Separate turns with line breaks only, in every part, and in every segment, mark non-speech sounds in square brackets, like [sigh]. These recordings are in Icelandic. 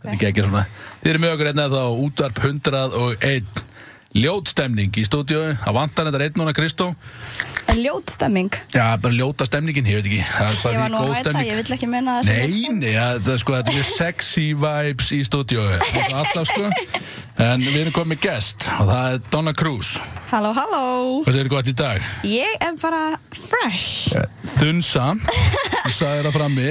Þetta er geggir svona. Þið eru með okkur hérna þá útvarp 101. Ljótstemning í stúdíu. Það vantar þetta einn núna Kristó.
En ljót stemming.
Já, bara ljóta stemningin, ég veit ekki. Það er
Ég
bara
var
því
nú að
góð
ræta,
stemning.
ég vill ekki menna það sem
Nei, nei, ja, það, er sko, þetta er sexy vibes í stúdíu. Alltaf sko. En við erum komið með gest og það er Donna Cruz.
Halló, halló.
Hvað segir gott í dag?
Ég er bara fresh.
Þunsa. Þú sagði það frammi.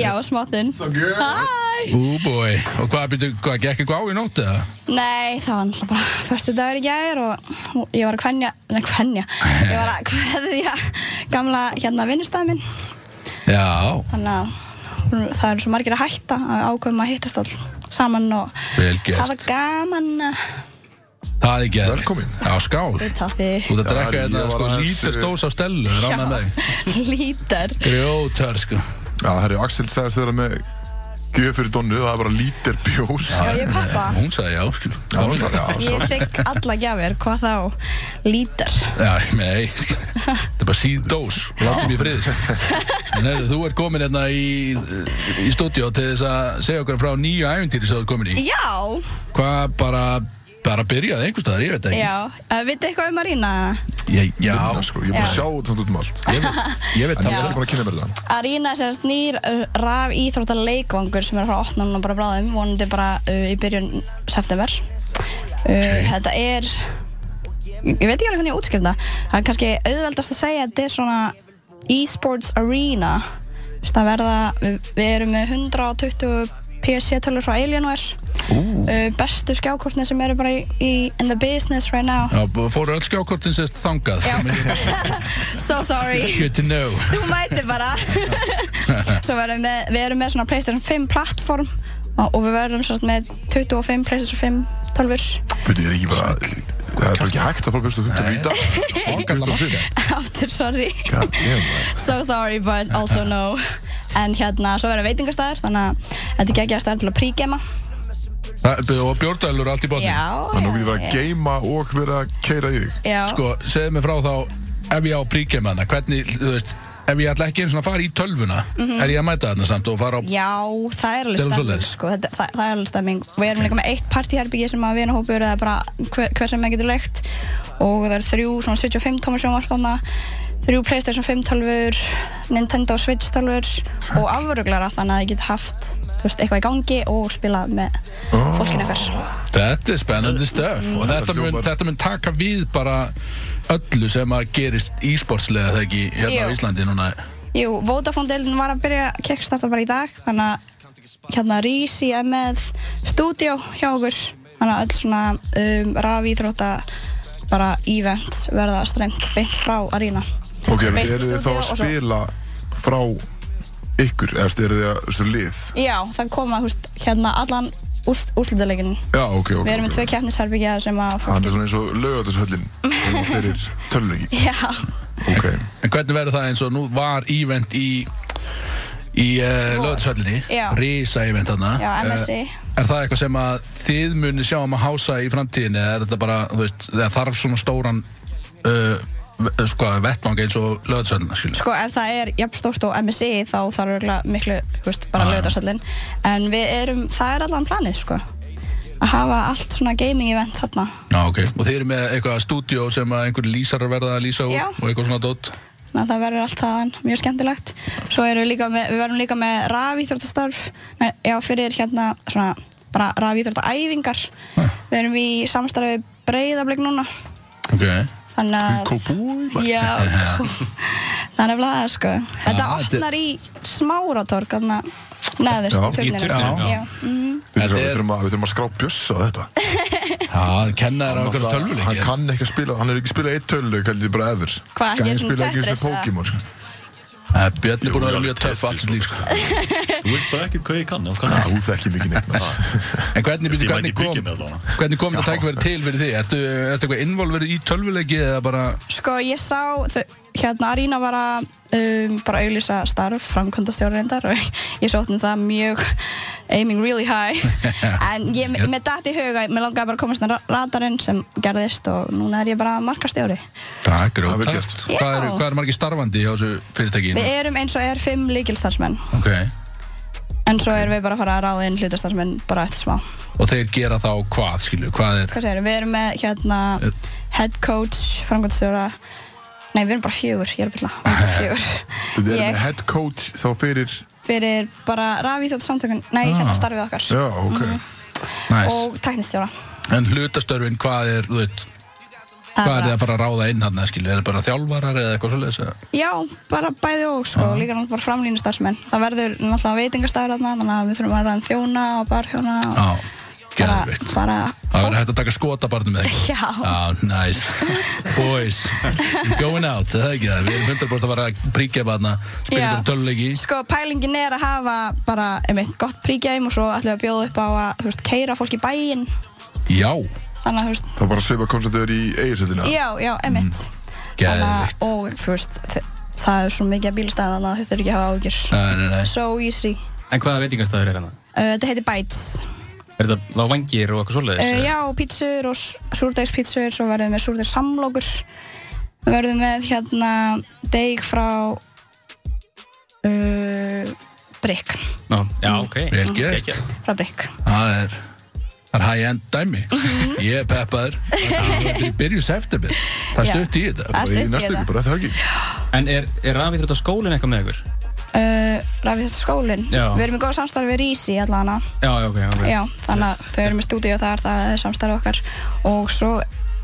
Já, smáttun. So good. Hæ.
Ú, boy. Og hvað, býtu, hvað, gekk eitthvað á í nótt eða?
Nei, það var náttúrulega bara förstu dagur í gær og og ég var að kvenja, nei, kvenja. Ég var
[laughs]
að kveðja gamla hérna vinnustæð minn.
Já,
Þannig að það eru svo margir að hætta að ákveðum að hittast all saman og
Vel gert.
hafa gaman að
það er ekki að
Velkomin.
Já, skál.
vita því
Þú ert að
Já,
drekka
ég
hérna
var
sko
aðeins- eh,
lítið stós á stellu, það ránaði með þig.
[laughs] lítar.
Grjótör sko.
Já, herri, Axel sagðist vera með gjöf fyrir Donnu, það er bara lítir bjór.
Já, ég er pappa.
Hún sagði já, sko.
Já, hún sagði já, svo.
Ég fekk alla gjafir, hvað þá lítar.
Já, ég meina, ei, sko. þetta er bara síð dós, látið mér frið. sko. En hefðu, þú ert komin hérna í, í stúdíó til þess að segja okkur frá nýju æfintýri sem þú ert komin í.
Já,
Hvað bara, bara byrjaði einhvers staðar, ég veit það
já. Uh, Vitið eitthvað um Arína?
ekki. Ég, já,
Vinna, sko. Ég er búin að
Já.
sjá þetta samt út um allt.
ég veit, ég veit
En ég er
það.
ekki búin að kynna mér þetta.
Arína er sem sagt nýr uh, raf íþrótta leikvangur sem er að fara að opna núna bara bráðum, vonandi bara uh, í byrjun september. Uh, þetta er, ég ég veit ekki alveg hvernig ég útskrifa það. Það er kannski auðveldast að segja að þetta er svona e-sports arena. Þú veist, Það verða, við, við erum með 120 PC-tölur frá Alienware, uh, bestu skjákortni sem eru bara í, í in the business right now. [laughs]
Já, b- fóru öll skjákortin sérst þangað. [laughs]
Já. so sorry.
Good to know.
þú mætir bara
[laughs]
Svo verðum við, við erum með svona Playstation 5 plattform og, og við verðum svona með 25 Playstation 5 tölvur
Byrju, ég er ekki bara, það er bara ekki hægt að fara bjóstu 15 í dag.
Ákalla marga.
[laughs] aftur, sorry
God damn, man.
so sorry but
[laughs]
also no en hérna, svo verðum veitingastæður þannig að þetta er geggjast stæður til að prígema
Það- Og bjórdælur allt í botni.
Já,
Þannig að þú getur verið
já,
að geima og verið að keira í þig.
já.
sko, segðu mig frá þá ef ég á príkjum hana, hvernig, þú veist ef ég ætla ekki einu svona að fara í tölvuna er ég að mæta þarna samt og fara á
Já, það er alveg
Þetta er
stemming
svoleiðis.
sko, þetta, það, það er alveg stemming Við erum líka með eitt partíherbyggi sem að vinahópur eða bara hver, hver sem maður getur leikt og það er þrjú svona 75 tómur sjónvarp þarna þrjú Playstation 5 tölfur Nintendo Switch tölfur og afruglara þannig að ég get haft þú veist, eitthvað í gangi og spila með fólkinu ykkar
þetta er spennandi stöf og þetta
Þetta
mun,
hljómar-
þetta mun taka við bara öllu sem að gerist ísportslega þegar ekki hérna á
Jú.
Íslandi núna
Jú, Vodafone-deildin var að byrja að kickstarta bara í dag þannig að hérna Rísi er með stúdíó hjá okkur þannig að öll svona um, rafíþrótta bara event verða strengt beint frá Arína
Ok,
Beint
eru þið þá
stúdíó
að
og svo-
spila frá ykkur, eða þú veist, eru þið að, þú veist, lið?
Já, það koma húst, hérna allan úst, úrslitalegin
Já, ok, ok.
Við erum
ok,
með tvö
ok.
keppnisherbyggja sem að fólk...
Hann er svona eins og lögatarsöllin fyrir
[laughs]
töluleiki.
Já,
Ok,
en hvernig verður það eins og nú var event í í uh,
Vor.
löðsöllinni
Já.
risa event hana
já, MSI
er það eitthvað sem að þið munir sjá um að hása í framtíðinni eða er þetta bara, þú veist, það þarf svona stóran uh, ve- sko, vettvang eins og löðsöldina, skilja
Sko ef það er jafn stórt og MSI þá þarf örugglega miklu, þú veist, bara
Já, já.
lögðarsallin En við erum, það er allan planið sko Að hafa allt svona gaming event þarna
Já, ok, og þið eru með eitthvað stúdíó sem að einhver lýsar að verða að lýsa úr
Já.
og eitthvað svona dótt
Þannig að það verður allt þaðan, mjög skemmtilegt Svo erum við líka með, við verðum líka með rafíþróttastarf Nei, Já, fyrir hérna svona bara rafíþróttaæfingar Við erum í samstarfi breyðablik núna
Ok,
Þannig að
kópúi, maður.
Já, þannig að það sko Þetta
þetta-
opnar í smáratorg Þannig að neðist
Já,
í
í
turninum
turninum, já.
mm.
Við þurfum
Þetta
að-
er-
við þurfum að, við þurfum að skrá bjössa á þetta.
já, kennar á einhverju
Náttúrulega, Hann
tölvuleiki
kann ekki að spila, hann er ekki að spila eitt töluleik heldur bara eður
Hvað, ekki
Gæðin
einu
spila ekki eins
Tetris,
og Pokémon sko.
Eh, Björn er búin að vera
Jú,
mjög töff allt sitt líf sko.
Þú veist bara ekkert hvað ég kann, ég kann
Já,
ekki.
þú þekki mikið neitt
[laughs]
maður.
En hvernig,
Ég
byrju,
mæti
hvernig
í byggjum
kom,
allavega.
hvernig kom þetta tækverð til fyrir því? Ertu, ertu eitthvað involverið í tölvuleiki eða bara
Sko ég sá þau, Hérna Arína var að um, bara auglýsa starf framkvæmdastjóra reyndar og [laughs] ég sótt um það mjög aiming really high en ég, mér datt í huga, mér langaði bara að komast að radarinn sem gerðist og núna er ég bara markastjóri
Það er
Það er
grótt
vel gert.
Hvað er,
Já.
hvað er margir starfandi hjá þessu fyrirtæki? hérna?
Við erum eins og er fimm líkilstarfsmenn
Ok,
En svo erum við bara að fara að ráða inn hlutastarfinn bara eftir smá.
Og þeir gera þá hvað, skilju, hvað er
Hvað segir Við erum með hérna head coach, framkvæmstjóra, nei við erum bara fjögur, ég er að byrja, við erum bara
Við
fjögur.
erum með
Ég
head coach þá fyrir
fyrir bara rafíþjótt samtökun, nei hérna starfið okkar.
Já, ok
Mhm.
næs?
Og teknistjóra.
En hlutastörfin, hvað er, þú veit, hvað er þið að fara að ráða inn hann, skilju? Er það bara þjálfarar eða eitthvað svoleiðis? eða?
Já, bara bæði og sko, líka náttúrulega bara framlínustarfsmenn. Það verður náttúrulega veitingastafir þarna, þannig að við þurfum að ræða þjóna og barþjóna og
Já,
bara,
geðvikt.
bara
Það verður hægt að taka skotabarnum með eitthvað.
Já.
Já, nice. Boys, going out, það er ekki það. Við erum 100% að fara að príkja barna, spila
Já.
um töluleiki.
Sko, pælingin er að hafa bara, einmitt, gott príkjæm og svo ætlum við að bjóða upp á að, þú veist, keira fólk í bæinn.
Já,
Þannig að, þú veist,
Það er bara að svipa koncertur í eiginsöldina
já, já, einmitt.
geðvikt.
Þannig að- og, þú veist, þe- það er svo mikið að bílstæða þannig að þau þurfum ekki að hafa ágjur.
Nei, nei, nei.
So easy.
En hvaða veitingastæður er hann?
Uh, þetta heitir Bites.
Er þetta lág vangir og eitthvað svoleiðis?
Uh,
eða?
já, pítsur og súrdegspítsur, svo verðum við með súrdegsamlokur. Við verðum með hérna deg frá uh, Brick.
Ná, já, ok.
Vel gert.
Geggjað.
Frá Brick.
Það er, það er high-end dæmi.
Mhm.
Ég er peppaður. Það er byrjus september. Það er
Já.
stutt í þetta.
Það er
Í
stutt í
næstu
þetta.
ykkur, bara er það ekki
En er, er rafið þrjótt á skólinn eitthvað með ykkur?
Uh, Rafið þetta skólinn.
Já.
Við erum í góð samstarfi við Rísi allan að.
Já, já, ok. ok.
Já, þannig að þau eru með stúdíu þar, það er samstarf okkar og svo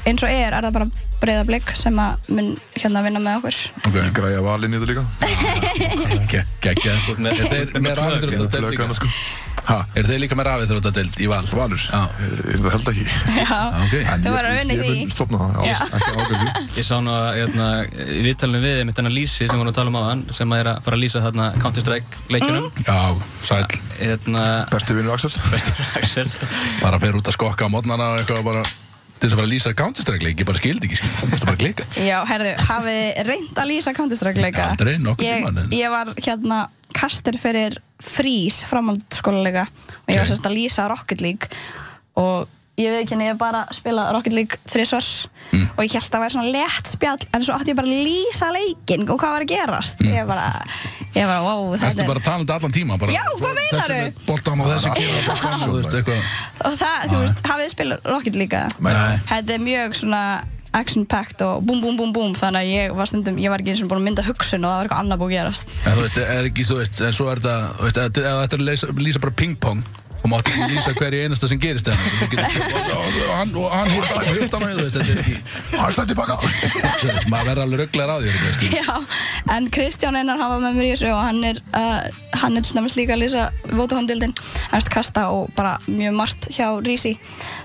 eins og er er það bara breyðablík sem að mun hérna vinna með okkur.
Ég græja valin í þetta líka
Gekkja. Er þeir með rafið þrjótt að
Löggan,
deild?
sko Ha,
Er þeir líka með rafið þrjótt að deild í val?
valur?
Já.
Er það held ekki
Já.
Ok.
[laughs]
En
Þú
ég-
verður að vinna í því.
Ég mun stopna það, alls, ekki ágæði
Ég sá nú að hérna, við talum við með þennan Lísi sem vorum að tala um áðan sem er að fara að lýsa þarna Counter-Strike leikjunum
Mm.
Já, sæl.
hérna,
Besti vinnur Axels
Axel
bara fer út að skokka á mótnana og eitthvað bara til þess að fara að lýsa kántistrækleik, ég bara skildi ekki, skildi, það bara klika.
Já, herðu, hafið þið reynd að lýsa Counter-Strike leika?
Aldrei, nokkurn tímann, en-
Ég, ég var hérna kastur fyrir frís framhaldsskóla leika og ég
Ok.
var sérst að lýsa Rocket League og ég veit ekki henni, ég hef bara spila Rocket League þrisvars
Mm.
og ég held að það væri svona létt spjall en svo átti ég bara að lýsa leikinn og hvað var að gerast ég bara, ég bara, wow,
Mm. Ertu
þetta er
bara talandi allan tíma? Bara,
Já, hvað meinaru?
Bóltan og þessi gera bóltan og þú veist eitthvað.
og það, þú veist, hafið þið spilað Rocket League eða?
Nei.
Þetta er mjög svona action-packed og búm, búm, búm, búm þannig að ég var stundum, ég var ekki eins og búin að mynda hugsun og það var eitthvað annað búið að gerast
En þú veist, er ekki, þú veist, en svo er þetta, þú veist, ef ef þetta er að lýsa, lýsa bara ping-pong og mátti ekki lýsa hverju einasta sem gerist þarna, þú getur- og- og- og hann. Og hann húrst alveg húrst á mig, þú veist, þetta er ekki,
Axel tilbaka
þú veist, maður verður alveg rugglegar á því, þú veist,
[laughs] Já, en Kristján Einar hafa með mér í þessu og hann er, uh, hann er til dæmis líka að lýsa vótuhondildin, hann er kasta og bara mjög margt hjá Rísi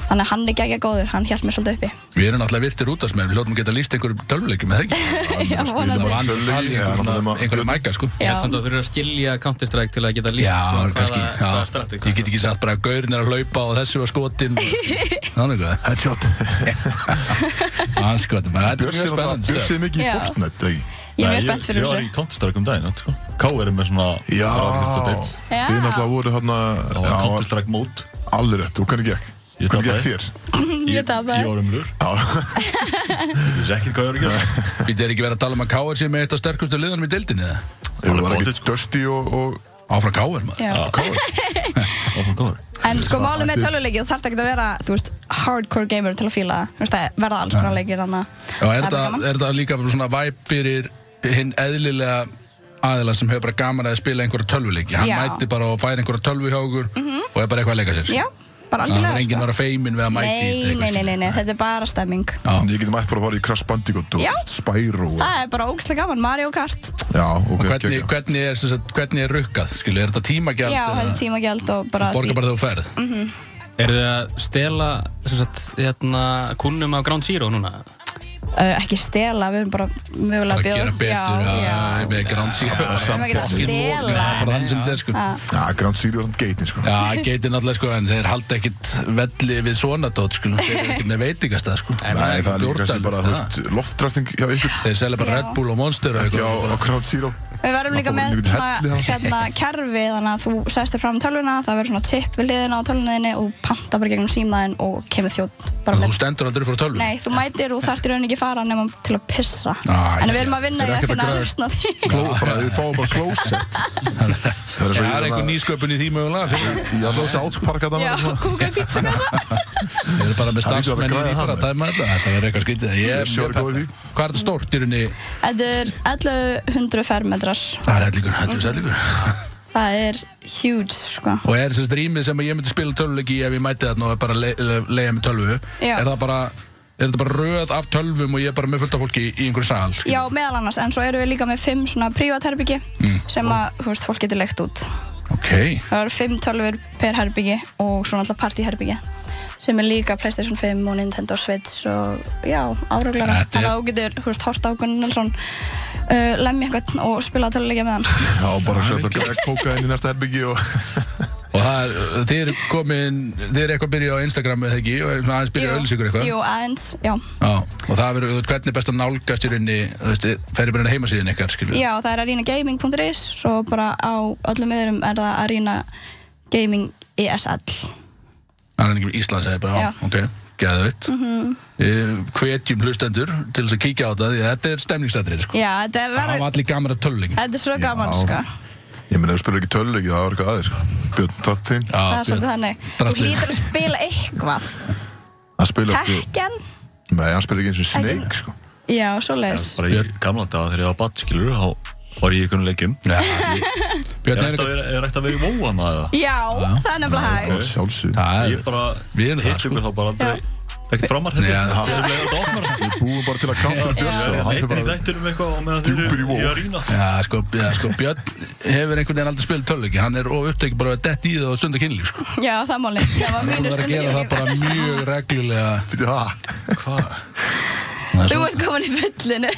þannig að hann er gegja góður, hann hjælt mér svolítið uppi
Við erum náttúrulega virtir út af smerð, við hljóttum að geta lýst einhverjum tölvuleikum, eða ekki?
[laughs] Já, vonandi.
Vann- vann í
Tölvuleiki, já, náttúrulega.
einhverju mæka, sko.
Ég
Já,
held samt að þú eru að skilja Counter-Strike til að geta lýst
Já,
svona,
kannski,
hvaða,
já.
hvaða strati
Ég get ekki sagt bara að gaurin er að hlaupa og þessi var
[laughs]
skotin Þannig hvað
Headshot
Hann skotin, maður, þetta er
Bjössi
mjög
er
spennandi
náttúrulega-
sko. stöf.
Já. ég
Bjössi er mikið í Fortnite, ekki?
er
Nei,
mjög spennt fyrir
Ég var í
þessu
Counter-Strike um daginn, sko. Ká er með svona...
Já
rafíþrótta deild.
Já.
Þið náttúrulega voru hérna
Það var Counter-Strike mót.
Allir rétt, og hvernig gekk?
Ég
Hvernig gekk
tapaði.
þér?
Ég tapaði.
Ég var umlur.
Já,
[laughs] Ég vissi ekkert hvað ég var að gera.
Við erum ekki verið að tala um að K.R. sé með eitt af sterkustu liðanum í deildinni eða?
það var
potið,
ekki
sko.
Dusty og, og
Áfra K.R. maður
Já.
Áfram góður.
En sko
Það
málið með
ætti-
tölvuleiki, þú þarft ekki að vera, þú veist, hardcore gamer til að fíla það, þú veist, það verða alls konar leikir þannig að
Já, er
bara
þetta-
gaman.
er þetta líka bara svona væp fyrir hinn eðlilega aðila sem hefur bara gaman að spila einhverja tölvuleiki Hann
Já. Mhm.
mæti bara og fær einhverja tölvu hjá okkur og er bara eitthvað að leika sér
Já, bara
Það er
algjörlega sko.
enginn að vera feimin við að mæti í
Nei,
þetta,
nei,
eitthvað,
nei, nei, nei, þetta er bara stemming
Já.
Ég getum eitthvað að fara í Crash Bandicoot
Já.
og Spyro og,
Það er bara ógæslega gaman, Mario Kart
Já, ok,
Hvernig,
gekk
hvernig, er, sem sagt, hvernig er rukkað, skilu, er þetta tímagjald?
Já,
eða-
þetta er Mhm, tímagjald og bara
Borga bara þegar þú ferð
Er þið að stela sem sagt, hérna, kunnum á Ground Zero núna?
uh, Ekki stela, við erum bara
bara
mögulega að bjóða
gera betur
Já,
já,
já,
ég með Grand Zero
Við erum ekki að
Fokkin lokun,
stela
það er bara hann sem þetta er sko
Já.
Já, Grand Zero og geitin, sko
Já, geitir náttúrulega sko, en þeir halda ekkit velli við svona dót, sko, þeir eru ekkit með veitingastað, sko.
Nei, það er líka
Bjórdal,
sem bara, þú veist, loftræsting hjá ykkur
Þeir selja bara
Já.
Red Bull og Monster og
Já,
eitthvað.
og Grand Zero
Við verðum líka með
Náttúrulega hellir
svona
hann.
hérna, kerfi þannig að þú sest þér fram tölvuna, það verður svona chip við liðina á tölvunniðinni og panta bara gegnum símaðinn og kemur þjótt bara
Þannig að
með.
þú stendur aldrei fyrir tölvu?
Nei, þú mætir og þarftir raunin ekki fara nema til að pissa.
Æ,
en
já,
við erum
já.
að vinna í
Þetta er
að
ekkert
finna
að
að
græða.
lausna á því.
Kló, bara, þið fáum bara
[laughs]
closet Það er svo hérna
Það
ég
er einhver nýsköpun í því mögulega fyrir
Ég er alveg sátsparka það
[laughs] Já, kúka í pizza
Þeir eru bara með
Það er líka að
starfsmenn í
græða
því bara
það,
að tæma þetta Þetta er eitthvað skytið Ég er
Sure,
mjög
góð
peppa
í því.
Hvað er þetta stórt í rauninni?
Þetta er 1100 fermetrar.
Það er hellingur, hellingur,
Mm.
hellingur
Það er huge, sko.
Og er þessi rýmið sem ég myndi spila tölvuleiki í ef ég mæti þarna og er bara le- le- leiða með tölvu
Já.
Er það bara, er þetta bara röð af tölvum og ég er bara með fullt af fólki í einhverju sal? skilur?
Já, meðal annars, en svo erum við líka með fimm svona privatherbyggi sem að, þú veist, fólk getur leikt út.
Ok,
Það eru fimm tölvur per herbyggi og svona alltaf partyherbyggi sem er líka Playstation 5 og Nintendo Switch og já,
Þetta
áruglara
er-
þannig að þú getur, þú veist, hort á Gunnar Nilsson uh, lemja einhvern og spila töluleikja með hann
Já, bara setja græða kóka inn í næsta herbyggi og
og það er, þið eru komin, þið eru eitthvað að byrja á Instagram eða ekki og er svona aðeins byrja að öllis ykkur eitthvað
Jú, aðeins, já
Já, og það verður, þú veist, hvernig er best að nálgast í rauninni, þú veist, ferði bara inn á heimasíðin ykkar, skilur
Já, það er arenagaming.is svo bara á öllum yðurum er það E Arena Gaming ESL
Það er ekki Íslands eða bara,
Já. Mhm.
já, ok, geðveitt. Mm -hmm. Hvetjum hlustendur til þess að kíkja á þetta, því að þetta er stemningstættrið, sko.
Já, þetta er
Það
verið,
hafa allir gamara töluleik.
þetta er svo gaman, sko
Ég meina, ef þú spilur ekki tölulegi, það var eitthvað aðeins Björn, tótt þín
Það er svolítið þannig Þú
Drastlið.
hlýtur að spila eitthvað
Hann spilur ekki
Tekken
Nei, hann spilur ekki eins og Snake, sko
Já, svoleiðis
Bara í gamla daga þegar ég var badd, skilur, þá var ég í einhvern leikjum.
Já, Björn,
Er
er
þetta
eitthvað,
að vera- er þetta að vera í móa maður það?
Já, það er nefnilega
Það
hægt.
er sjálfsög
það
Ég
er,
bara
Við erum það,
hitt ykkur þá bara aldrei, ekkert framar
Já,
hérna.
það-
Það er leiðið að opna hérna.
Við búum bara til að kantra Björn
Ég
og
er
hann
einn
hefur
í
bara
þættinum eitthvað og meðan þeir
Djúpur í
eru í
WoW.
arína.
já, sko, já, sko, Björn hefur einhvern veginn aldrei spilað töluleiki, hann er of upptekið bara að detta í það og stunda kynlíf, sko.
Já, það máli. Það var
Þú
mínu
verður að
stundir
gera það bara mjög reglulega.
Fyrir það
Það er
Þú
svo-
ert komin í fullinu.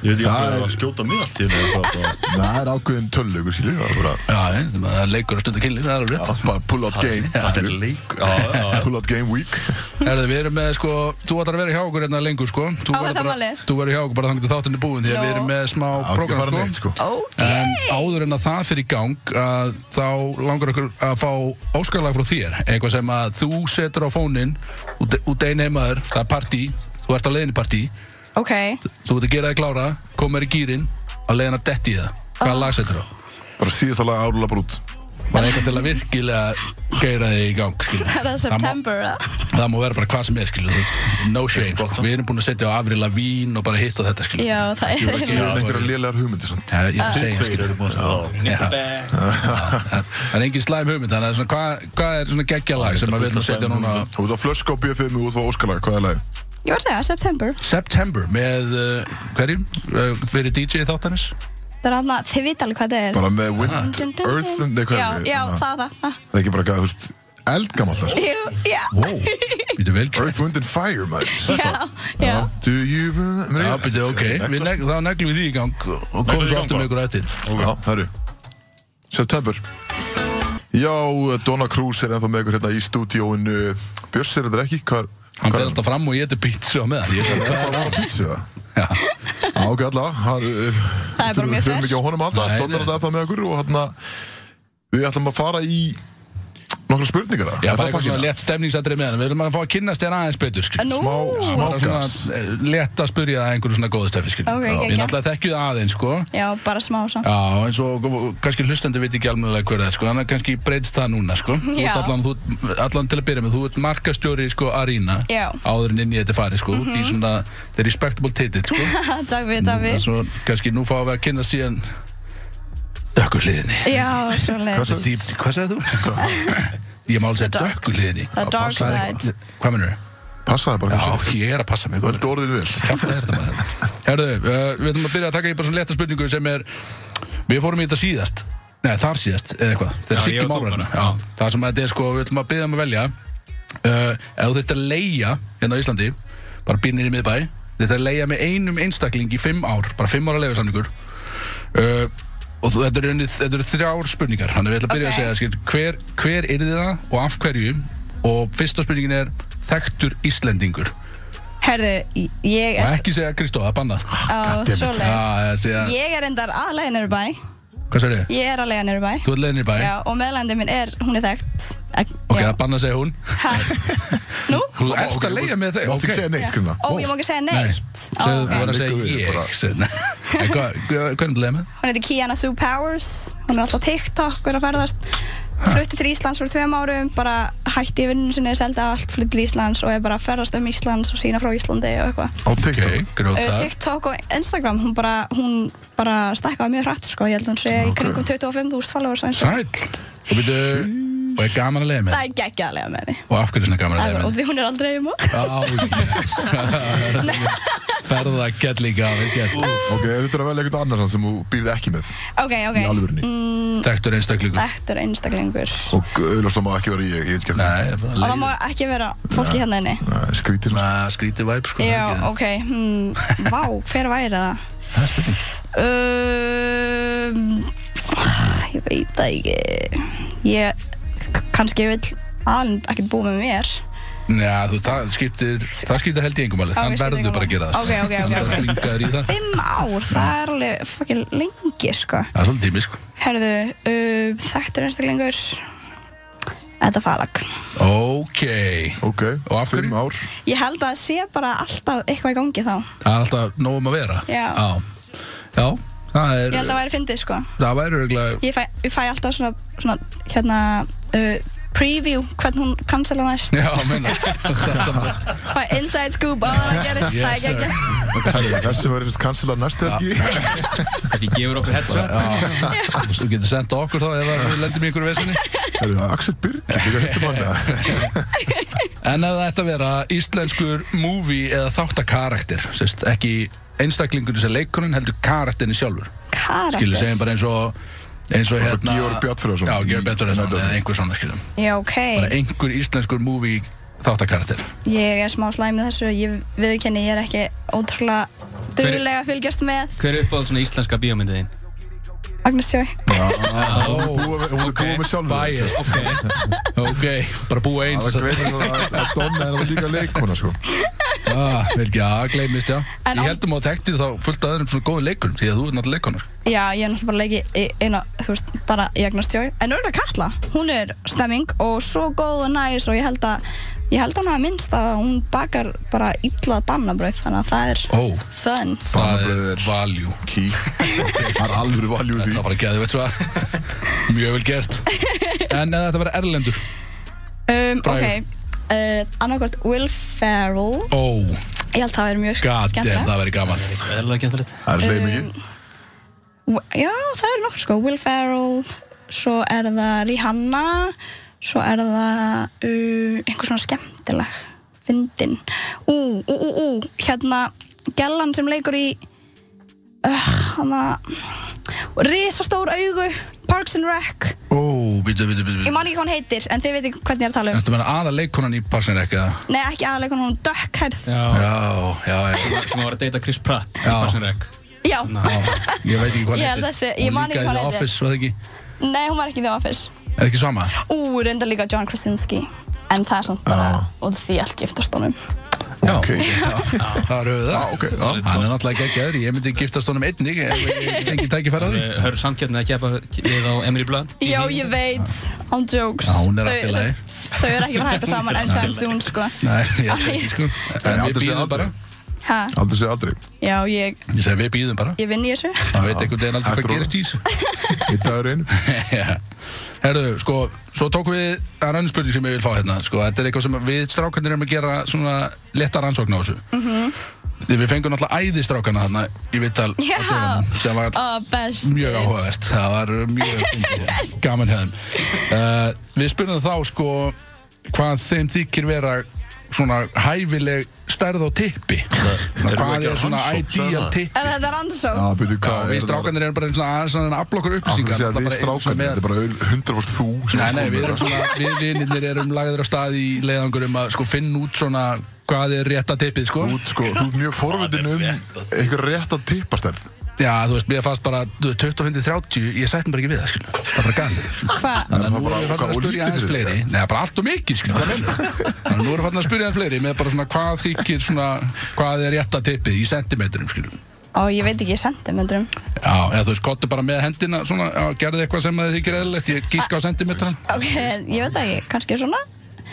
Ég veit ekki
Það
hvað það
er-
er að skjóta mig allt í hérna eitthvað. bara-
Það er ákveðin tölulegur, skilur Það er bara,
Já, það er leikur að stunda kynlíf, það er alveg rétt.
já, bara pull out game
Það er leik. Já, já, já.
Pull out game week
Herðu, við erum með, sko, þú ætlar að vera hjá okkur hérna lengur, sko. Þú
Á,
verður
það
bara-
málið.
Þú verður hjá okkur bara þannig að þáttinni búin, því að
Jó.
við erum með smá
Það er ekki að
prógram,
fara
sko.
neitt, sko
Ok.
En áður en að það fyrir í gang að þá langar okkur að fá óskalag frá þér, eitthvað sem að þú setur á fóninn út, út einn heimaður, það er partí, þú ert að leiðin í partí,
Ok.
þú ert að gera þig klára, koma þér í gýrin, að leiðin að detti í það.
Ah.
Hvaða lag setur á?
Bara síðasta lag árúla brút
Bara eitthvað til að virkilega geira þig í gang, skilja.
[laughs] Er það September, eða?
Það má vera bara hvað sem er, skilju, þú veist, no shame, sko. Við erum búin að setja á Avril Lavín og bara hitt á þetta, skilju.
Já, það er
Já,
Ég er einhverja lélegar hugmyndir, sant?
Já, ég segja,
Tveir
skilju.
eru búin að staða á.
Það er engin slæm hugmynd, þannig að svona, hvað, hvað er svona geggjalag sem að við ætlum að setja núna á
Þú ert að flösku á BFM og þú ert að óskalag, hvað er lagið?
Ég var að segja September.
September með uh, hverjum, uh, fyrir DJ þáttanis
Það er aðna, þið vita alveg hvað það er.
Bara með Wind,
Dun, dun, dun.
Earth and... Nei, hvað
Já,
er
já,
það?
það, það. það.
Það er ekki bara gæð, þú veist, eldgamall það, sko
Jú, já. [laughs]
Wow, býtu vel gert.
Earth, Wind and Fire, maður
Já, já.
Do you...
Já, býtu, ok, við neg, þá neglum við því í gang og komum
við í
svo
gang
aftur
bara.
með ykkur eftir
Já, herru September Já, Donna Cruz er ennþá með ykkur hérna í stúdíóinu Björs er þetta ekki, hvað
Hann fer alltaf fram og ég eitthvað pizza á meðan Ég ætla
Það var pítsu það
Já.
Já, ok, allavega hann, uh,
Það er bara mjög
Þurfum
fresh.
ekki á honum alltaf
Nei,
Donna
nei.
er þetta með okkur og hérna Við ætlum að fara í Nokkra spurningar það
Já,
Er
bara
það
eitthvað
pakkinn?
svona létt stemningsatrið meðan Við erum að fá að kynnast þér aðeins betur skilur.
Nú,
Smá, smá
Bara
gas
svona, eh, Létt að spurja það einhverju svona góðu stefi
Ok,
Við
geggjað.
náttúrulega þekkju það aðeins, sko
já, bara smá samt.
Já, eins og og kannski hlustandi veit ekki almennilega hver það er, sko, þannig að kannski breytst það núna, sko. Þú ert
Já.
Allan, þú, ert- allan til að byrja með, þú ert markastjóri, sko, Arína,
Já. Mhm.
áður en inn í þetta fari, sko, mm í svona, þetta er respectable titill,
[laughs]
sko.
[laughs] Takk fyrir,
Það
takk
er
fyrir.
svo, kannski nú fáum við að kynna síðan dökkuliðinni.
Já, svo leiðis.
sagði-
Deep, hvað sagði þú?
[laughs]
Ég má alveg segja
dark-
dökkuliðinni.
the
Já,
dark
passaði
side.
eitthvað. Hvað mennur þau?
Passaði bara
Já,
hvað
ég er að passa mig,
sem
góður.
Þetta orðið vel
Hvað er þetta maður? Herðu, uh, við ætlum að byrja að taka í bara svona leta spurningu sem er Við fórum í þetta síðast Nei, þar síðast, eða eitthvað Þegar
Já,
Siggi
ég og þú
Málarna
bara, já.
Já, það sem að þetta er sko, við ætlum að byrja um að velja uh, Ef þú þurft að leia hérna á Íslandi Bara býrnir í miðbæ Þetta er að leia með einum einstakling í fimm ár Bara fimm ára leiðursamningur uh, Og þú- þetta eru er þetta eru þrjár spurningar Þannig að við ætlum að byrja
Ok.
að segja skil, hver, hver er það og af hverju Og fyrsta spurningin er Þekktur Íslendingur
Herðu, ég
Og
er
ekki segja Kristóð, það er bannað
á
goddammit.
svoleiðis.
Já, ég segja,
Ég er endar aðlega niður í bæ.
hvað sér ég?
Ég er aðlega niður í bæ.
Þú ert leiðin í bæ,
Já, og meðlandið minn er, hún er þekkt. Ek-
ok, það
já.
er bannað segja hún
Ha? Nú?
Þú ert að leiða með þeim,
Máttu ekki segja neitt, Grunna?
Ó, ég má ekki segja
Nei,
neitt.
þú segðu- þú
Ó,
verður að segja
Liggur við bara.
ég segðu- Nei. En hvað- hvað- Hvernig er leiðin með?
Hún heitir Kiana Sue Powers. Hún er alltaf á TikTok, er að ferðast. Flutti til Íslands fyrir tveim árum, bara hætti í vinnun sinni, seldi allt, flutti til Íslands og er bara að ferðast um Íslands og sína frá Íslandi og eitthvað.
Á
Ok,
TikTok.
Uh,
gróta
TikTok og Instagram, hún bara, hún bara stækkaði mjög hrætt sko, ég held hún sé í kringum 25.000 followers á Instagram.
Sæll Og byrju, og er gaman að leiða með?
Það er geggjaðlega með því.
Og af hverju er svona gaman að
Það er
leiða
og
með?
því hún er aldrei heima.
Á,
[laughs]
yes Ferða gett líka, vel gett
Ok, þetta er að velja eitthvað annars sem þú býrði ekki með
Ok, ok. Mm.
í alvörunni.
Þekktur einstaklingur
Þetta er einstaklingur.
Og auðvitað það má ekki vera ég, ég veit ekki hvað.
Nei, bara
Og það má
leiðin
ekki vera fólki hérna inni.
Nei, skrítir hans.
Skrítið væp, sko
Já,
ekki?
ok.
[laughs]
Hmm, vá, hver væri það?
Það er spurning.
Um, ég veit það ekki. Ég, k- kannski vill aðlund ekki búa með mér.
Já, þú, það skiptir, það skiptir held í engum alveg,
Ok,
þann
skiptir
verður bara
engu
að
máli.
gera það
Ok, ok, ok, ok.
Þingaður í það
Fimm ár, það er alveg fucking lengi, sko.
Það er svolítið tími, sko
Herðu, uh, þekktur einstaklingur. Þetta er falag.
Ok,
Ok,
Og af hverju?
fimm ár.
Ég held að það sé bara allað eitthvað í gangi þá.
það er alltaf nóg um að vera
Já.
Já, Já, það
Ég
er,
held að það væri fyndið, sko.
það væri örgulega
Ég fæ, ég fæ alltaf svona, svona hérna, uh, preview, hvern hún cancela næst.
Já, meina Þetta-
Fæ inside scoop á það að gera. Það
Yes,
er
sir.
ekki
Herri, Þessi verður einst kansilar næst helgi.
Kannski gefur okkur headshot
Já, þú getur sendt okkur þá ef að við lendum í einhverju vesinni
Herri, það er Axel Birk, líka hittum hann
[laughs]
eða?
En ef það ætti að vera íslenskur movie eða þáttakarakter sérst, ekki einstaklingurinn sem leikurinn heldur karakterinn sjálfur
karakter.
Skilur segjum bara eins og eins og hérna
Georg Bjarnfreðason.
Já, Georg Bjartfjörðarsson
Nei,
eða einhver svona skilum
Já, ok.
bara einhver íslenskur movie þáttakarakter
Ég er smá slæm með þessu. Ég viðkenni, ég er ekki ótrúlega duglega að fylgjast með
Hver er uppáhald svona íslenska bíómyndið þín?
Agnes Joy.
Hún er búið með- hún er búið með sjálfur.
Biased Ok, bara búa eins
Það er greið að að Donna er það líka leikona, sko.
ah, vel ekki, Já, gleymist, já
En
Ég
á-
heldum að þekkti þá fullt aðeins svona góðu leikur því að þú er náttúrulega leikona sko.
Já, ég er náttúrulega bara leikið í eina, þú veist, bara í Agnes Joy. En auðvitað Katla, hún er stemming og svo góð og næs og ég held að, ég held að hún hafa minnst að hún bakar bara illað bannabröð, þannig að það er
Ó,
fun.
það
Bannabrauð
er
er-
valjú
Ký. Það er alvöru valjú í
Þetta
því.
var bara gæði, veit
[laughs]
svo Mjög vel gert En eða þetta var erlendur
Um,
Frægur.
ok, uh, annarkort Will Ferrell,
Ó,
ég held að það er mjög
god damn,
skemmtilegt.
það væri gaman
Eðlilega gæmtilegt
Það er sleim ekki.
W- Já, það er nokkur sko, Will Ferrell, svo er það Rihanna, svo er það uh, einhver svona skemmtileg, fyndin. Ú, ú, ú, ú, hérna, gellan sem leikur í, uh, hann að, risastór augu, Parks and Rec,
Ó, býtu, býtu, býtu
ég man ekki hvað hann heitir, en þið veitir hvernig ég er að tala um.
Þetta meina aða leikonan í passin ekki Já,
Nei, ekki aðleikon, hún dökkhærð.
Já
já, já
Sem að var að deyta Chris Pratt
Já.
í Parks and Rec
Já,
Já, Ég veit ekki hvað
Ég held þessi- ég man ekki hvað hann
heitir Hún líka í The Office, var
heitir.
það ekki?
[laughs] nei, hún var ekki í The Office.
Er ekki sama?
Ú, reyndar líka John Krasinski, en það er samt bara, og því allt giftast honum.
Já,
Ok.
já, það eru við
Já,
það
ok. já.
Hann er náttúrulega geggjaður, ég myndi giftast honum einnig ef ég fengi tækifæra á því
Eh, Hörðu samkjætni að gefa við á Emily Blunt í
Já,
því.
ég veit, án jokes
Já, hún er
Þau-
allt í lagi.
Þau eru ekki bara hægt að saman anytime soon, sko
Nei, ég held ekki sko En
aldrei
við
segja
býðum
aldrei.
bara
ha,
Aldrei segja aldrei.
Já, ég,
Ég segi við býðum bara
ég vinn í þessu
Það veit einhvern veginn aldrei
Eftir
hvað
orða.
gerist í þessu [laughs]
Eitt dagur einu.
Já. Herðu, sko, svo tók við að rannum spurning sem ég vil fá hérna sko, þetta er eitthvað sem við strákarnir erum að gera svona letta rannsókn á þessu mm
Mhm.
við fengum alltaf æði strákarna þarna í vittal
Já.
sem var
Ó, best
mjög áhugavert það var mjög fyndið. gaman hefðum uh, við spurðum þá sko hvað þeim þykir vera svona hæfileg stærð á tippi Svona,
Erum við
hvað
ekki
er
að
svona
rannsókn, sagði
ideal
það?
tippi
Er þetta rannsók?
Já, Ah, byrju,
Já,
hvað
við
er það?
strákarnir erum bara svona aðeins að afla okkur
Akkur
upplýsingar
segja
náttúrulega
við
bara eins og
strákarnir,
með-
þetta er bara 100% þú sem
Nei,
ert
nei,
kominn
við
með
erum svona, við vinirnir erum lagðir á stað í leiðangur um að sko finna út svona hvað er rétta tippið sko
Þú ert sko, þú ert mjög forvindin um einhver rétt að tippastærð
Já, þú veist, mér fannst bara þú veist, 25-30, ég sætti mig bara ekki við það, skilju Það er bara gæmur
Hvað?
Þannig
En
að
það
nú
var
erum við
bara
fann að
hvað
spyrja
lítið
aðeins
fyrir
fleiri Nei, það er bara allt og mikið, skilju, hvað meina Þannig að nú erum við fann að spyrja aðeins fleiri með bara svona hvað þykir svona hvað er rétt að tippið í sentimetrum, skilju
Ó, ég veit ekki, ég sendi með dröm.
Já, eða þú veist, kottu bara með hendina svona, já, gerði eitthvað sem að þið þykir eðlilegt ég gíska á sentimetran
Ok, ég veit ekki, kannski svona.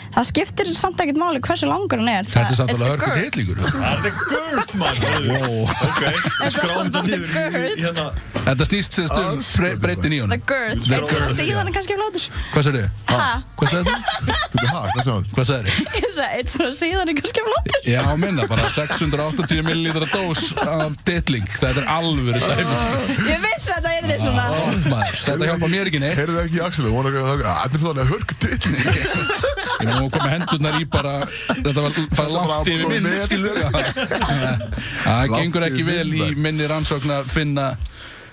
Það skiptir samt ekkert máli hversu langur hann er.
Þetta er
það-
samt alveg
it's the
hörgur
girth.
hitlingur
Það er gurt, mann
[laughs]
Ok, skráðum þetta
the
niður í-
girth.
í hérna
Þetta snýst sérst um bre- breytin í
The
honum
girth.
The
Einn
girth,
cm í
já.
þannig kannski flótur.
Hvað sagði
Ha?
Hvað sagði
Fyrir það, hvað sagði hann?
Hvað sagði
[laughs] Ég sagði, einn cm síðan er kannski flótur.
Já, minna, bara 680 millilitra dós af ditling Þetta er alvöru dæmis
Ég vissi að það er því svona.
maður, Þetta hjálpa mér ekki neitt
Heyrðu ekki í Axel, vonar ekki að það er Þetta er svona hörg dill
Ég mér nú komið hendurnar í bara Þetta var fara
var
langt yfir
bara
minn
með-
skilur við. Það það
Langt
gengur
yfir
ekki vel í
minn, maður.
minni rannsókn að finna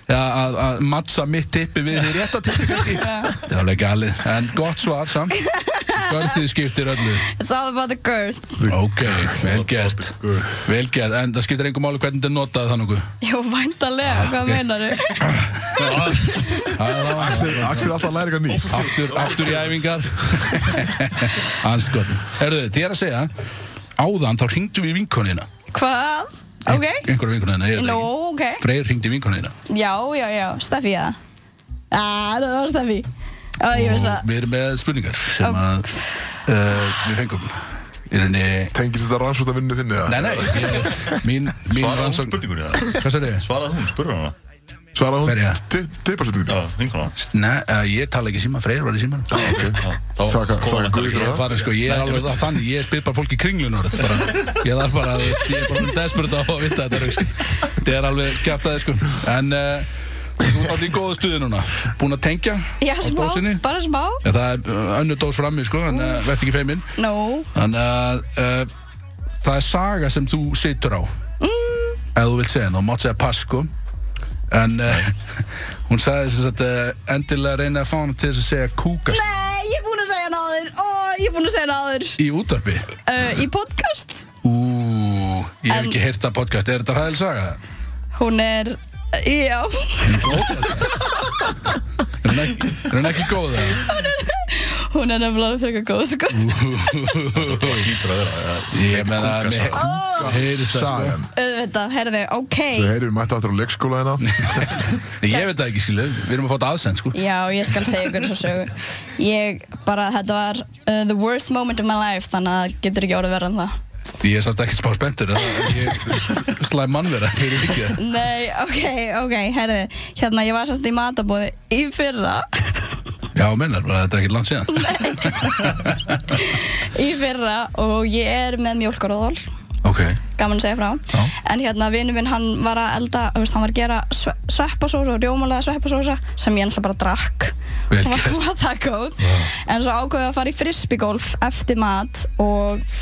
Já, að, að mattsa mitt tippi við því rétta tippi kannski Það er alveg galið, en gott svar samt Görðið skiptir öllu
It's all about the girth.
Ok, vel gert Vel gert, en það skiptir engum máli hvernig þetta er notað þannig
Jú, væntalega, hvað
Ah, ok.
meinar þau?
Það
Axel Axel er alltaf að læra eitthvað nýtt
aftur, aftur í æfingar [laughs] Anskotn Herðu, þér að segja Áðan þá hringdu við vinkonina
Hvað? Ok.
Einhverja vinkonina, ég veit það
Nú,
ekki
ok.
Freyr hringdi í vinkonina
Já, já, já, Steffi, já. Ah, það var Steffi. Ó, ég vissi
Og
að...
við erum með spurningar sem
Ok.
að uh, við fengum Í rauninni
Tengist þetta rannsóta vinnu þinni eða?
Nei, nei,
[laughs]
ég, mín, mín
Svaraði hún
rannsókn-
spurningunni það?
Hvað sagði ég?
Svaraði hún, spurði hana
Svara
Hverja?
hún tipparsöndingu
Já, vinkona
Nei, uh, ég tala ekki í síma, Freyr var í símanum
Þakka, þakka guði
Ég
fyrir
[laughs] er
það
farin sko, ég er alveg það þannig, ég spyr bara fólk í kringlunarð bara, ég þarf bara, þú veist, ég er bara desperate á að vita þetta, sko. þetta er alveg kæft aðeins sko, en uh, þú ert allir í góðu stuði núna, búin að tengja
Já,
á
smá,
dósinni,
bara smá.
ja, það er uh, önnu dós frammi sko, en uh, verð ekki feiminn,
Nú,
þannig að uh, það er saga sem þú situr á, ef þú vilt segja henni, og mátt segja pass sko, en uh, [laughs] hún sagði þess að uh, endilega reyna að fá hana til þess að segja kúkast
Nei, ég er búin að segja náður Ó, ég er búin að segja náður
í útvarpi.
uh, Í podcast
Ú, ég hef
En-
ekki heyrt að podcast, er þetta hræðil saga?
Hún er, já
Er hann ekki, er hann ekki góð það?
Hún er nefnilega frekar góð sko.
Það hlýtur að vera ja.
Ég meina
Kúka
að
saga.
mér heyrist það sko.
Sagan
Auðvitað, herðu, ok
Þau heyrir mætti aftur á leikskóla hérna [laughs]
Nei, Ég veit það ekki, skilu, við erum að fá þetta aðsend sko.
Já, ég skal segja ykkur svo sögu Ég bara, þetta var uh, the worst moment of my life Þannig að það getur ekki orðið verið en það
Ég er samt ekki spá spenntur, en það- ég slæm mannvera fyrir vikið.
Nei, ok, ok, herðu Hérna, ég var sérst í matabóði í fyrra [laughs]
Já, minnar, bara þetta er ekki langt síðan.
Í fyrra og ég er með mjólkaróðól
Ok,
gaman að segja frá
Já.
en hérna vinnu minn hann var að elda þú veist, hann var að gera sve sveppasósa og rjómulega sveppasósa sem ég ennþá bara drakk
Vel
[laughs] Hún var,
gert.
var það góð en svo ákveði að fara í frisbeegolf eftir mat og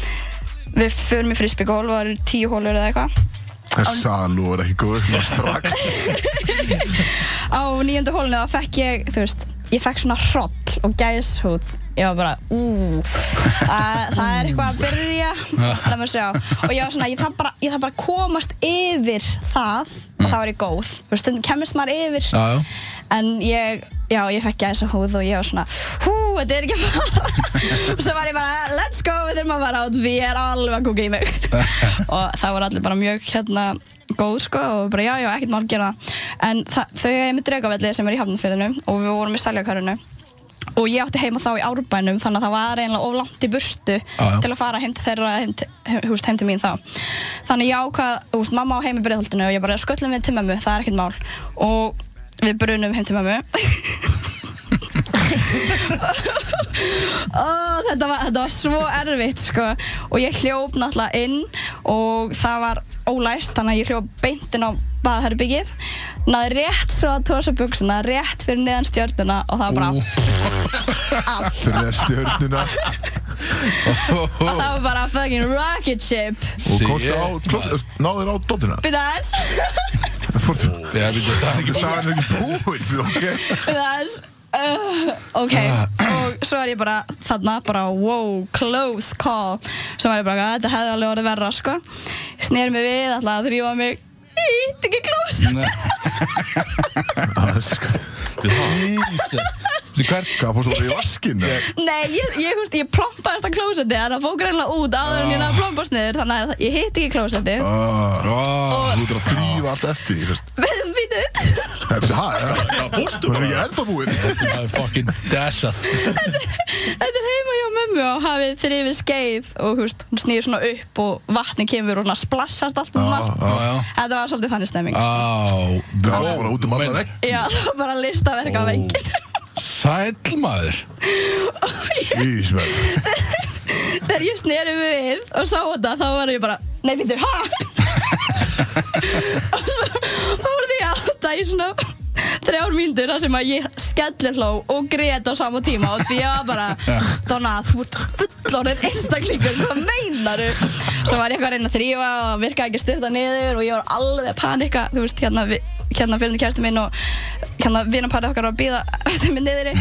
við förum í frisbeegolf og það eru tíu hólur eða eitthvað
Salú er ekki góð Það er strax
á nýjöndu hólunni þá fekk ég þú veist, ég fekk svona hroll og gæshút ég var bara, ú það, það er eitthvað að byrja let me sjá, og ég var svona ég þarf bara, ég þarf bara að komast yfir það og það var ég góð, þú veist, stundum kemist maður
Mm.
yfir
já, já.
en ég, já, ég fekk gæshút og ég var svona, hú, þetta er ekki að fara [laughs] og svo var ég bara, let's go við þurfum að fara át, því ég er alveg að kúka í mig og það voru allir bara mjög hérna góð sko og bara já, já, ekkert mál gera það en það, þau er með dregavelli sem er í hafnafyrðinu og við vorum í sæljakörinu og ég átti heima þá í árbænum þannig að það var eiginlega of langt í burtu
já.
til að fara heim til þeirra heim til, heim, húst, heim til mín þá þannig ég ákvað, húst, mamma á heim í breiðhaldinu og ég bara sköllum við til mömmu, það er ekkert mál og við brunum heim til mömmu oh, þetta, var, þetta var svo erfitt sko. og ég hljóp náttúrulega inn og það var ólæst þannig að ég hljóp beint inn á baðherbyggið náði rétt svo að tósa buksuna rétt fyrir neðan stjörnuna og það var bara allt
Fyrir það stjörnuna
og það var bara fucking rocket ship
Og komst á klósið Náður á dotina
byrða aðeins
Fórstu
Já, við þetta er ekki
Sagan er ekki búin fyrir ok
byrða aðeins Uh, ok, og svo er ég bara þarna, bara wow, close call svo var ég bara, þetta hefði alveg orðið verra sko, snýr mig við, ætlaði að þrýfa mig ít ekki close
Nei.
Það er sko-
Þessi hvert
Hvað, fórstu bara í vaskin?
[laughs] Nei, ég, ég, húst, ég prompaðist að klósetti en það fók reynilega út áður en ég náði að prompast niður þannig að ég hitt ekki klósetti [laughs]
Ah, Þú
Ó,
ert að þrýfa allt eftir þú veist.
Býtu,
Nei, betur það Það
Bústu
er ekki ennþá búinn
Það er fucking dashað
þetta er heima hjá mömmu og hafið þrifið skeið og húst, hún snýr svona upp og vatni kemur og svona splassast allt um allt
Já, já
Þetta var svolítið þannig stemming
Á
Það var bara út um alla vegg
Já, það var bara listaverk á veggin
Sæll maður
Ís, maður
Þegar ég sneri mig við og sá þetta þá var ég bara, nei býttu, ha? [laughs] og svo voruð ég að átta í svona þrjár mínútur þar sem að ég skellir hló og grét á sama tíma og því ég var bara, Donna, þú ert fullorðin einstaklingur, hvað meinaru? Svo var ég eitthvað að reyna að þrýfa og virkaði ekki að styrta niður og ég var alveg að panika, þú veist, hérna, vi- hérna fylgni kæristu minn og hérna vinapari okkar var að býða [laughs] eftir mig niðri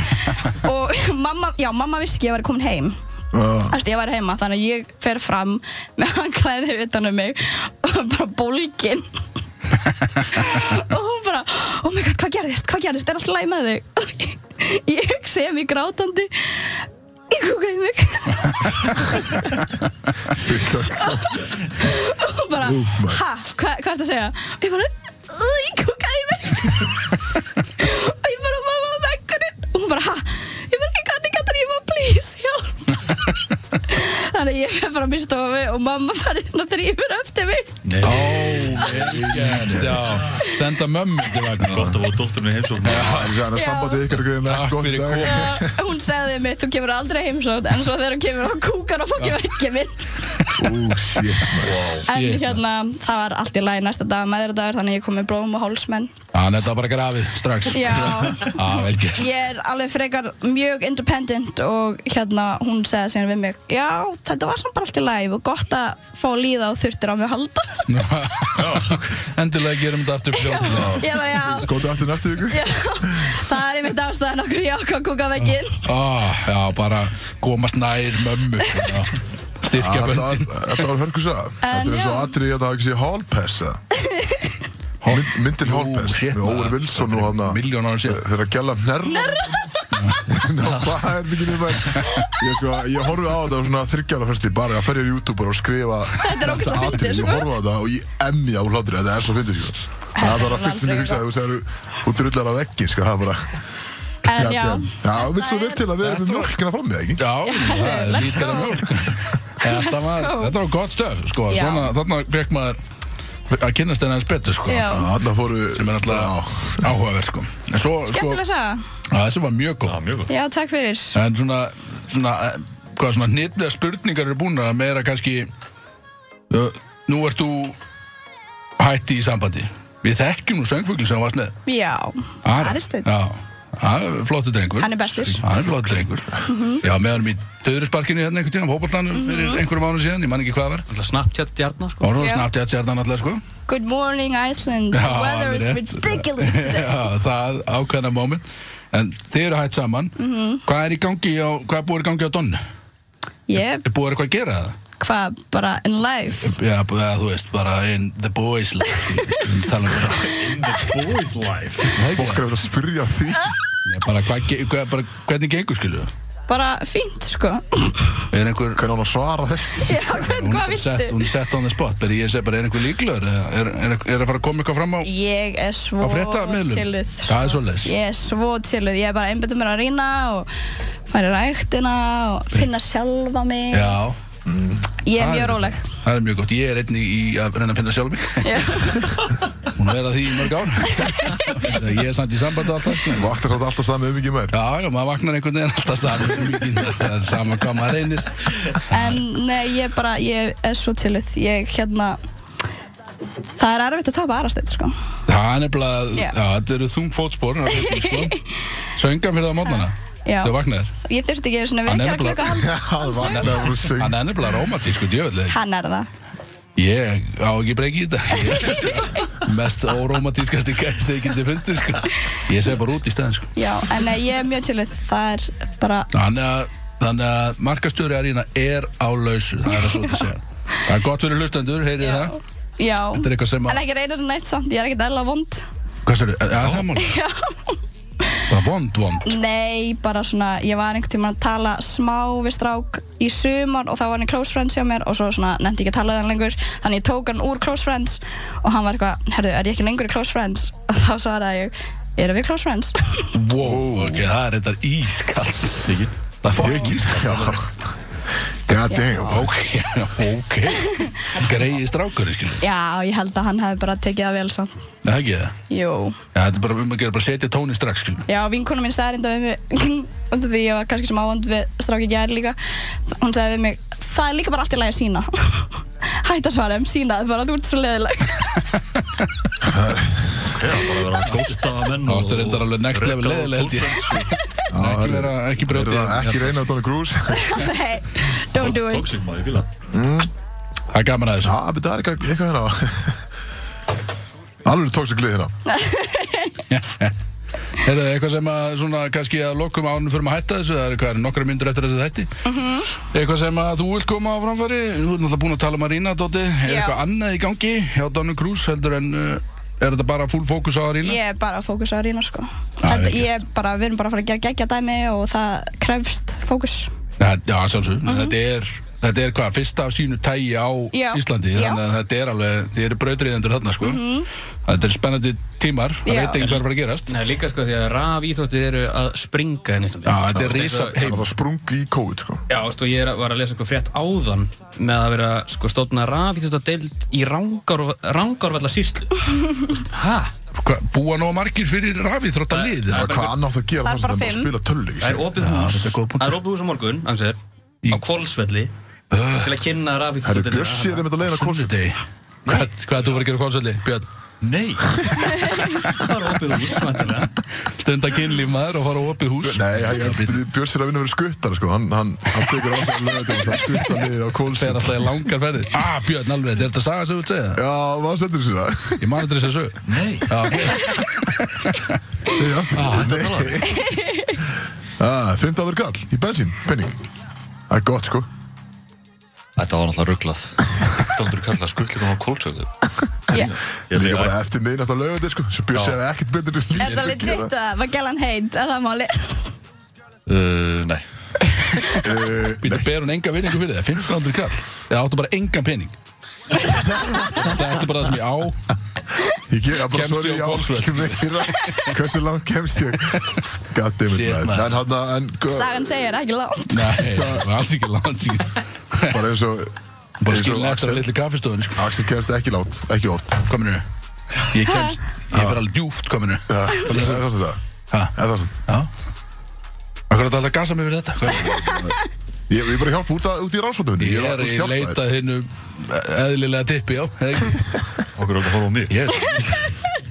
og mamma, já, mamma vissi ekki að ég var komin heim
Ah.
Þú veist, ég var heima, þannig að ég fer fram með handklæði utan um mig og bara bólgin og hún bara oh my god, hvað gerðist, hvað gerðist, er alltaf læg með þig ég sem í grátandi ég kúkaði í mig og hún bara,
Úff, maður.
ha, hva, hvað ertu að segja og ég bara, "Ú, ég kúkaði í mig og ég bara, mamma, vekkurinn og hún bara, ha, ég bara, ég kann ekki að drífa, please, hjálp Þannig að ég fer fram í stofu og mamma fær inn og þrýfur eftir mig.
Nei,
Gert, já Senda mömmu til vagnar
gott að fá dótturinn í heimsókn
Það er sæðan að
Já.
sambandi ykkar greina
Takk
gott í
fyrir
dag.
komuna.
Já, hún sagði mig, þú kemur aldrei heimsótt, en svo þegar hún kemur þá kúkar og fokkið vekkið minn.
Ú, shit, maður
En
Shit.
hérna, það var allt í lagi næsta dag, meðurdagur, þannig að ég kom með blóm og hálsmenn.
Já, þetta var bara grafið strax
Já,
Já, vel gert
ég er alveg frekar mjög independent og hérna, hún segði síðan við mig, já, þetta var samt bara allt í lagi og gott að fá að líða og þurftir á mig að halda.
Endilega gerum þetta aftur fljóðlega
ég bara, já,
Skóti aftur næstu ykkur
já, það er einmitt ástæðan okkur ég ákvað að kúka vekkinn.
ah, Já, bara komast nær mömmu já. Styrkja böndin
Ah, Þetta var hörkusa Þetta er eins
Uh,
og
já.
atrið að það ekki sé hálpessa Mynd, myndin hálpess
shit,
með Óri
maður.
Wilson og hann
Milljón ára síðan.
þeirra gæla nærra [laughs] Ná, hvað er mikið nýmur ég, sko, ég horfi á þetta á svona þryggjala fyrst bara að ferja í YouTube bara og skrifa
Þetta er ógeðslega fyndið,
atriði.
sko.
ég horfi á þetta og ég emmi á hlátri þetta er svo fyndið sko. það var að fyrst sem ég hugsaði þú segir þú drullar á veggi sko, það er bara
En já,
Goddamn. já vill svo
þetta
verð til að vera með mjölkina fram með ekki
Já, það er
let's
líkara
go.
mjólk
[laughs]
Þetta
Let's
var,
go.
þetta var gott stöf sko.
Já.
Svona, Þarna fekk maður að kynnast henni aðeins betur sko.
Já.
þarna fóru
sem er alltaf áhugaverð sko. En svo, sko,
Skemmtilega saga.
að þessi var mjög góð
Já, mjög gott
Já, takk fyrir.
En svona, svona eh, hvað svona hnitlega spurningar eru búin að meira kannski uh, nú ert þú hætti í sambandi Við þekkjum nú söngfuglin sem þú varst með
Já,
Ari.
Aristeinn.
Já, hann er flottur drengur
Hann er bestur. Mhm.
Hann er flottur drengur Já, með hann í döðurisparkinu hérna einhvern tíðan Hópallanum fyrir einhverjum ánum síðan, ég man ekki hvað það var
Alltaf Snapchat djarnar sko
Og svo
Já.
snabbt ég að sér hann alltaf sko
Good morning Iceland.
Já,
The weather is
alveg rétt.
ridiculous
[laughs]
today.
Já, það ákveðna moment En þið eru hætt saman
Mhm.
Hvað er í gangi á, hvað er búið í gangi á Donnu?
Yep,
Er búið eitthvað að gera það?
hvað bara in life.
Já, búið að þú veist, bara in the boys [laughs] life Tala um
[laughs]
það
Boys life
fólk er að spyrja því
Nei, Bara, hvað, ge- hvað, bara hvernig gengur skilju?
Bara fínt,
[laughs]
sko.
Er einhver
hvernig á hann að svara þessu
Já, hvern,
Hún
hvað
er sett,
viltu?
hún er sett on the spot Beri, ég segi bara, er einhver líklegur? eða Er, er, er að fara að koma eitthvað fram á
Ég er
á
svo
fréttamiðlum?
chilluð. sko.
Það er svoleiðis
Ég er svo chilluð. Ég er bara einbættur mér að rýna og fara í ræktina og finna sjálfa mig.
Já
Ég er
það
mjög róleg.
Það er mjög gott, ég er einnig í að reyna að finna sjálf mig
Já.
Hún er að því í mörg ár Ég er samt í sambandi alltaf Já,
vaktar sátt alltaf sami um ekki meir
já, maður vaknar einhvern veginn alltaf saman um mikið, Það er sama hvað maður reynir
En nei, ég bara, ég er svo chilluð. Ég, hérna, það er erfitt að tapa Aristeinn, sko.
Það er nefnilega,
Já.
já, þetta eru þung fótspor það er þung, sko. Söngan fyrir það á mótnana
Já.
Þegar vaknaðir
Ég þurfti ekki einu svona
Hann er
vekjara
nefnilega-
klukka hann
hann vaknaði og söng
Hann er nefnilega rómatísku djöfellið
Hann er það
Ég á ekki breyki í þetta [laughs] Ég er Mest órómatískasti gæst sem ég geti fundið sko. Ég segi bara út í stæðin sko.
Já, en nei, ég er mjög chilluð Það er bara
Þannig að, þannig að markastjóri Arína er á lausu Það er að svo til segja Það er gott fyrir hlustendur, heyrið það
Já
Þetta er eitthvað sem að-
En ekki reynir neitt samt Ég er ekkert eðla vond
Hvað sérðu? Er er það mál?
Já.
Bara vond, vond.
Nei, bara svona, ég var einhvern tímann að tala smá við strák í sumar og þá var hann í Close Friends hjá mér og svo svona nefndi ég ekki að tala við hann lengur þannig ég tók hann úr Close Friends og hann var eitthvað, herðu, er ég ekki lengur í Close Friends? [laughs] Og þá svaraði ég, erum við Close Friends? [laughs]
Wow, ok, það er þetta ískalt.
Þykir.
Það er fokk
Ekki,
ískalt.
já. God damn.
Ok, ok. Greiði strákurinn, skilur.
Já, ég held að hann hefði bara tekið það vel svo.
Nei, Það er ekki það.
Jú.
Já, þetta er bara um að gera, bara setja tónin strax, skilur.
Já, vinkona mín sagði reynda við mig, [laughs] undir því ég var kannski sem ávand við stráki gær líka, hún sagði við mig, það er líka bara allt í lagi að [laughs] sína. Hætt að svara um sína, bara þú ert svo leðileg.
Já, bara að vera að gósta menn
Þá ertu reyndar alveg next level leiðileg, held ég. Ekki vera, ekki
Er
brjótið.
það ekki reyna á Donald [laughs] Cruz?
[laughs] Nei, don't do it.
Tóksinn maður, ég fíla
Það er gaman að þessu.
Já, menn það er eitthvað eitthvað hérna. Alveg tóks að glið hérna.
[laughs] Er það eitthvað sem að, svona, kannski að lokum ánum fyrir að hætta þessu, það er eitthvað nokkra myndur eftir þessu þætti.
Mhm.
Eitthvað sem að þú vilt koma á framfæri, þú ert náttúrulega búin að tala um Arena, Dóti, er
Já.
eitthvað annað í gangi hjá Donnu Krús heldur en, uh, er þetta bara full fókus á Arena?
Ég er bara að fókusa á Rína sko.
Já,
Þetta,
vel
ég er bara, við erum bara að fara að gera geggja dæmi og það krefst fókus.
Ja, já, sjálfsög, þetta er, þetta er hvað, fyrsta af sínu tægi á
Mhm. Já.
Íslandi,
Já. Mhm.
þannig að þetta er alveg, þið eru brautriðendur þarna, sko. Þetta er spennandi tímar, það
Já.
veit ekki hvað er að fara að gerast.
Nei, líka sko því að raf íþróttir eru að springa hérna í Íslandi.
Já, þetta er
Þú veist, eins
risa
og-
heim.
Það sprung í COVID, sko.
Já, veist, og ég er, var að lesa eitthvað frétt áðan með að vera sko, stóðna raf íþróttadeild í rangar, rangarvalla síslu. Hæ?
Hva, búa nóg margir fyrir rafið þrótt að lið?
Það er hvað annar það að gera
Það er bara
þannig að bara
fimm.
spila sko. tölvi.
Það er opið hús,
þetta er góð punktur.
það er opið hús á morgun, ansver, á Kvolsvelli, til að kynna raf
Það eru
íþróttadeildina.
Bjössi er einmitt að leiðina COVID.
Kólsöldi Hvað hvað ert þú verið að gera á kólsöldi, Björn?
Nei,
Það er opið hús, vantilega.
Stunda kynlíf maður og fara á opið hús
Nei, ég- ég- Bjössi er að vinna verið skuttar, sko. Hann, hann, hann tekur á sig að leiða þetta skuttar liðið á
Þegar
kólsinn.
alltaf ég langar ferðir Ah, Björn, alveg, er þetta saga sem þú vilt segja?
Já, maður sendur sér það.
Ég man eftir þess að sög
nei
Já, ok.
Nei, aftur. Nei. Ah, 15 kall í bensín, penning. Það er gott, sko.
Þetta var náttúrulega rugglað Dóndur kalla skullingum á kólsögðu
Yeah.
Ég
Líka
held
bara
ég-
eftir miðin alltaf lögandi, sko. Svo Bjössi
Já.
er ekkert betur í lífið
Er það
að
legit
gera.
að var gælan heit, er það máli?
Uh, Nei,
Býtu, ber hún enga vinningu fyrir það 1500 kall Eða áttu bara engan pening Þetta er bara það sem ég á
Ég gera bara
Kemst
svo
ég á
í
Hvolsvöll?
álsku meira Hversu langt kemst ég? Goddammit
Shit,
maður
maður.
En hann að, en sko, gau-
Sagan segir ekki langt.
Nei, alls ekki langt sín
bara eins og
Bara
eins og
skilin eftir
Axel-
að litlu kaffistofun sko.
Axel kemst ekki látt, ekki oft
Hvað minn Ég kemst, ég fer alveg djúft, hvað minn
Það er það svolítið það
Ha?
Það er það svolítið
Já Akkur er þetta alltaf að gasa mig fyrir þetta? Hvað?
Ég ég er bara að hjálpa út, að, út í rannsóknunni
Ég er í leita hinnu eðlilega tippi, já eða ekki?
okkur er okkur að horfa á mig
Ég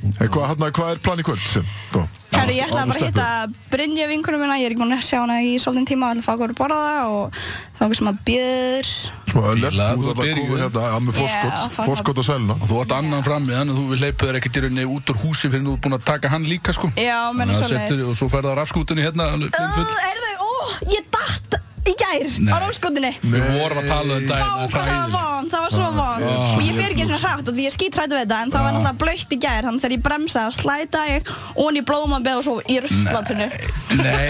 En hvað, hann, hvað er plan í kvöld Sko. sem? Þú?
Herri, ég ætla
Árum
bara að hitta Brynja vinkunum minna, ég er ekki múin að sjá hana í svolítinn tíma, alveg fá okkur að borða það og þá okkur sem að bjöður.
Smá öller,
Fíla,
þú
þú
er alltaf
byrjuð.
komið hérna að með
Já,
fórskott
fá-
Fórskott á sæluna
Þú átt annan frammi, þannig að þú hleypur þér ekkert í rauninni út úr húsi fyrir þú ert búinn að taka hann líka, sko.
Já, menn
Þannig að
svo
settu þig Og
leiðis.
svo ferðu á rafskútunni hérna, alveg blindfull.
Er þau, ó, ég datt í gær
Nei.
á róskotinni.
Við vorum að tala um daginn,
Vá,
það er
hvað það var
hræðilegt. Ah,
von, það var svo von Og ég fer ekki svona hrætt og því ég skýt hrætt við þetta En það var náttúrulega blöytt í gær Þannig þegar ég bremsa, slæta ég Ón í blómabeð og svo í ruslatunnu
Nei,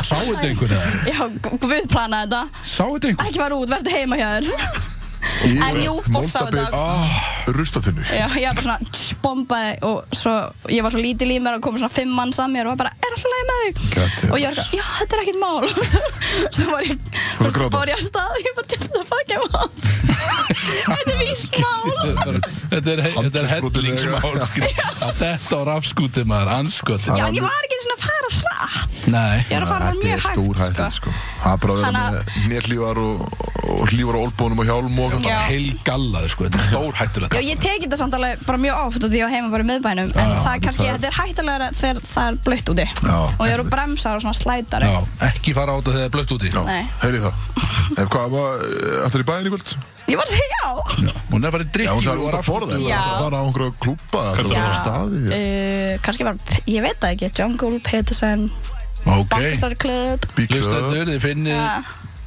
sá þetta einhver það?
Já, guð plana þetta
Sá þetta einhver?
Ekki var út, verður heima hjá þér En jú, fólk sá þetta
Ah.
Rustatinu
Já, ég var bara svona tss, bombaði og svo, ég var svo lítil í mér og kom svona fimm manns að mér og var bara, er alltaf leið með þig?
Gæti.
og ég var svona, já, þetta er ekkert mál [laughs] og svo, svo var ég,
Fórstu að
svo
gráta?
fór ég að stað ég bara, tjöfn það fækja mál [laughs] Þetta er víst mál
Þetta er- Þetta er, þetta er hellingsmál, sko. Að Þetta á rafskúti maður, anskotin.
Já, ég var ekki einu sinni að fara hratt
Nei.
Ég er að fara
Þetta
mjög
er
hægt
stór hægt sko. Það er bara að vera
Þannig að-
með nérlífar og, og hlífar á olbónum og hjálm og
Bara
Já.
heilgallaður, sko. Þetta er stórhættulegt.
Já, ég teki þetta samt alveg bara mjög oft og því ég á heima bara í miðbænum En það er kannski,
það er-
þetta er hættulegra þegar það er blött úti
Já.
Og ég eru bremsar og svona slætar
Já, ekki fara á þetta þegar það er blött úti.
Já,
Nei.
heyri það En hvað var, ættir í bæðin í kvöld?
Ég var að segja já
Hún er bara í
Já, hún
drikki
þarf út að forða
Já.
Það var á einhverju klúpa Það var á staði
Uh, kannski var, ég veit það ekki, Jungle, Peterson,
Ok.
Bankastar Club Ah,
Bíklöð Mm,
Hlustendur, þið finnið
Ja.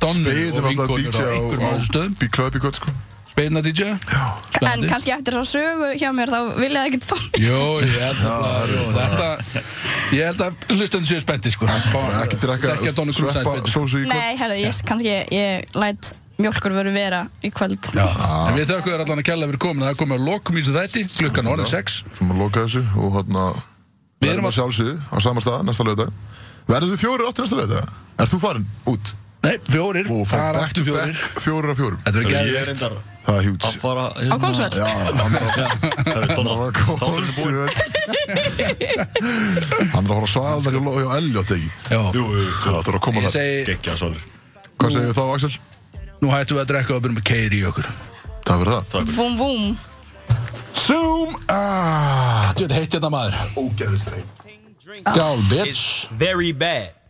Donnu
Beðið
og
alltaf
vinkonur á
DJ
einhverjum
á
ástöðum
Bíklöð í kvöld sko
Speina DJ
En kannski eftir svo sögu hjá mér þá vil ég ekkert fá mig
Jó, ég held að jú, þetta Ég held að hlustunum séu spennti sko
Ekki drekka,
Ekki að Donny Cruz
sveppa
sæti
sósu í kvöld
Nei, herðu, ég, kannski ég læt mjölkur veru vera í kvöld
Já, en við þökkum þér allan að kella fyrir komin Það er komið að lokum í þessu þætti, klukkan orðin 6
sem að loka þessu og hérna
Við erum
við erum
að-
að sjálfsögðu á sama stað næsta lögdag verðum við fjórir átti næsta lögdag er þú farin út
Nei, fjórir,
og
það
fara
er
back to
aftur fjórir
back fjórir af fjórum
Þetta verður
Ég er
geðvikt
reyndar
það er hjút
að fara
Á Hvolsvöll.
[laughs]
já, hann er
Það er
hann er
Donald
að
Þátturinn
kóðsvöld
er búinn
hann er að fara svalda hjá Lói og Elliot ekki
Já,
Jú, jú, jú,
það þarf að koma
ég
þar
segi,
geggja svalir
hvað segir þá Axel?
nú hættum við að drekka og byrjum með keiri í okkur
það verður það
Vum, vum
Zoom, ah, þú veit heitt hérna maður
ógeðist þeim
Gál, bitch
Very bad.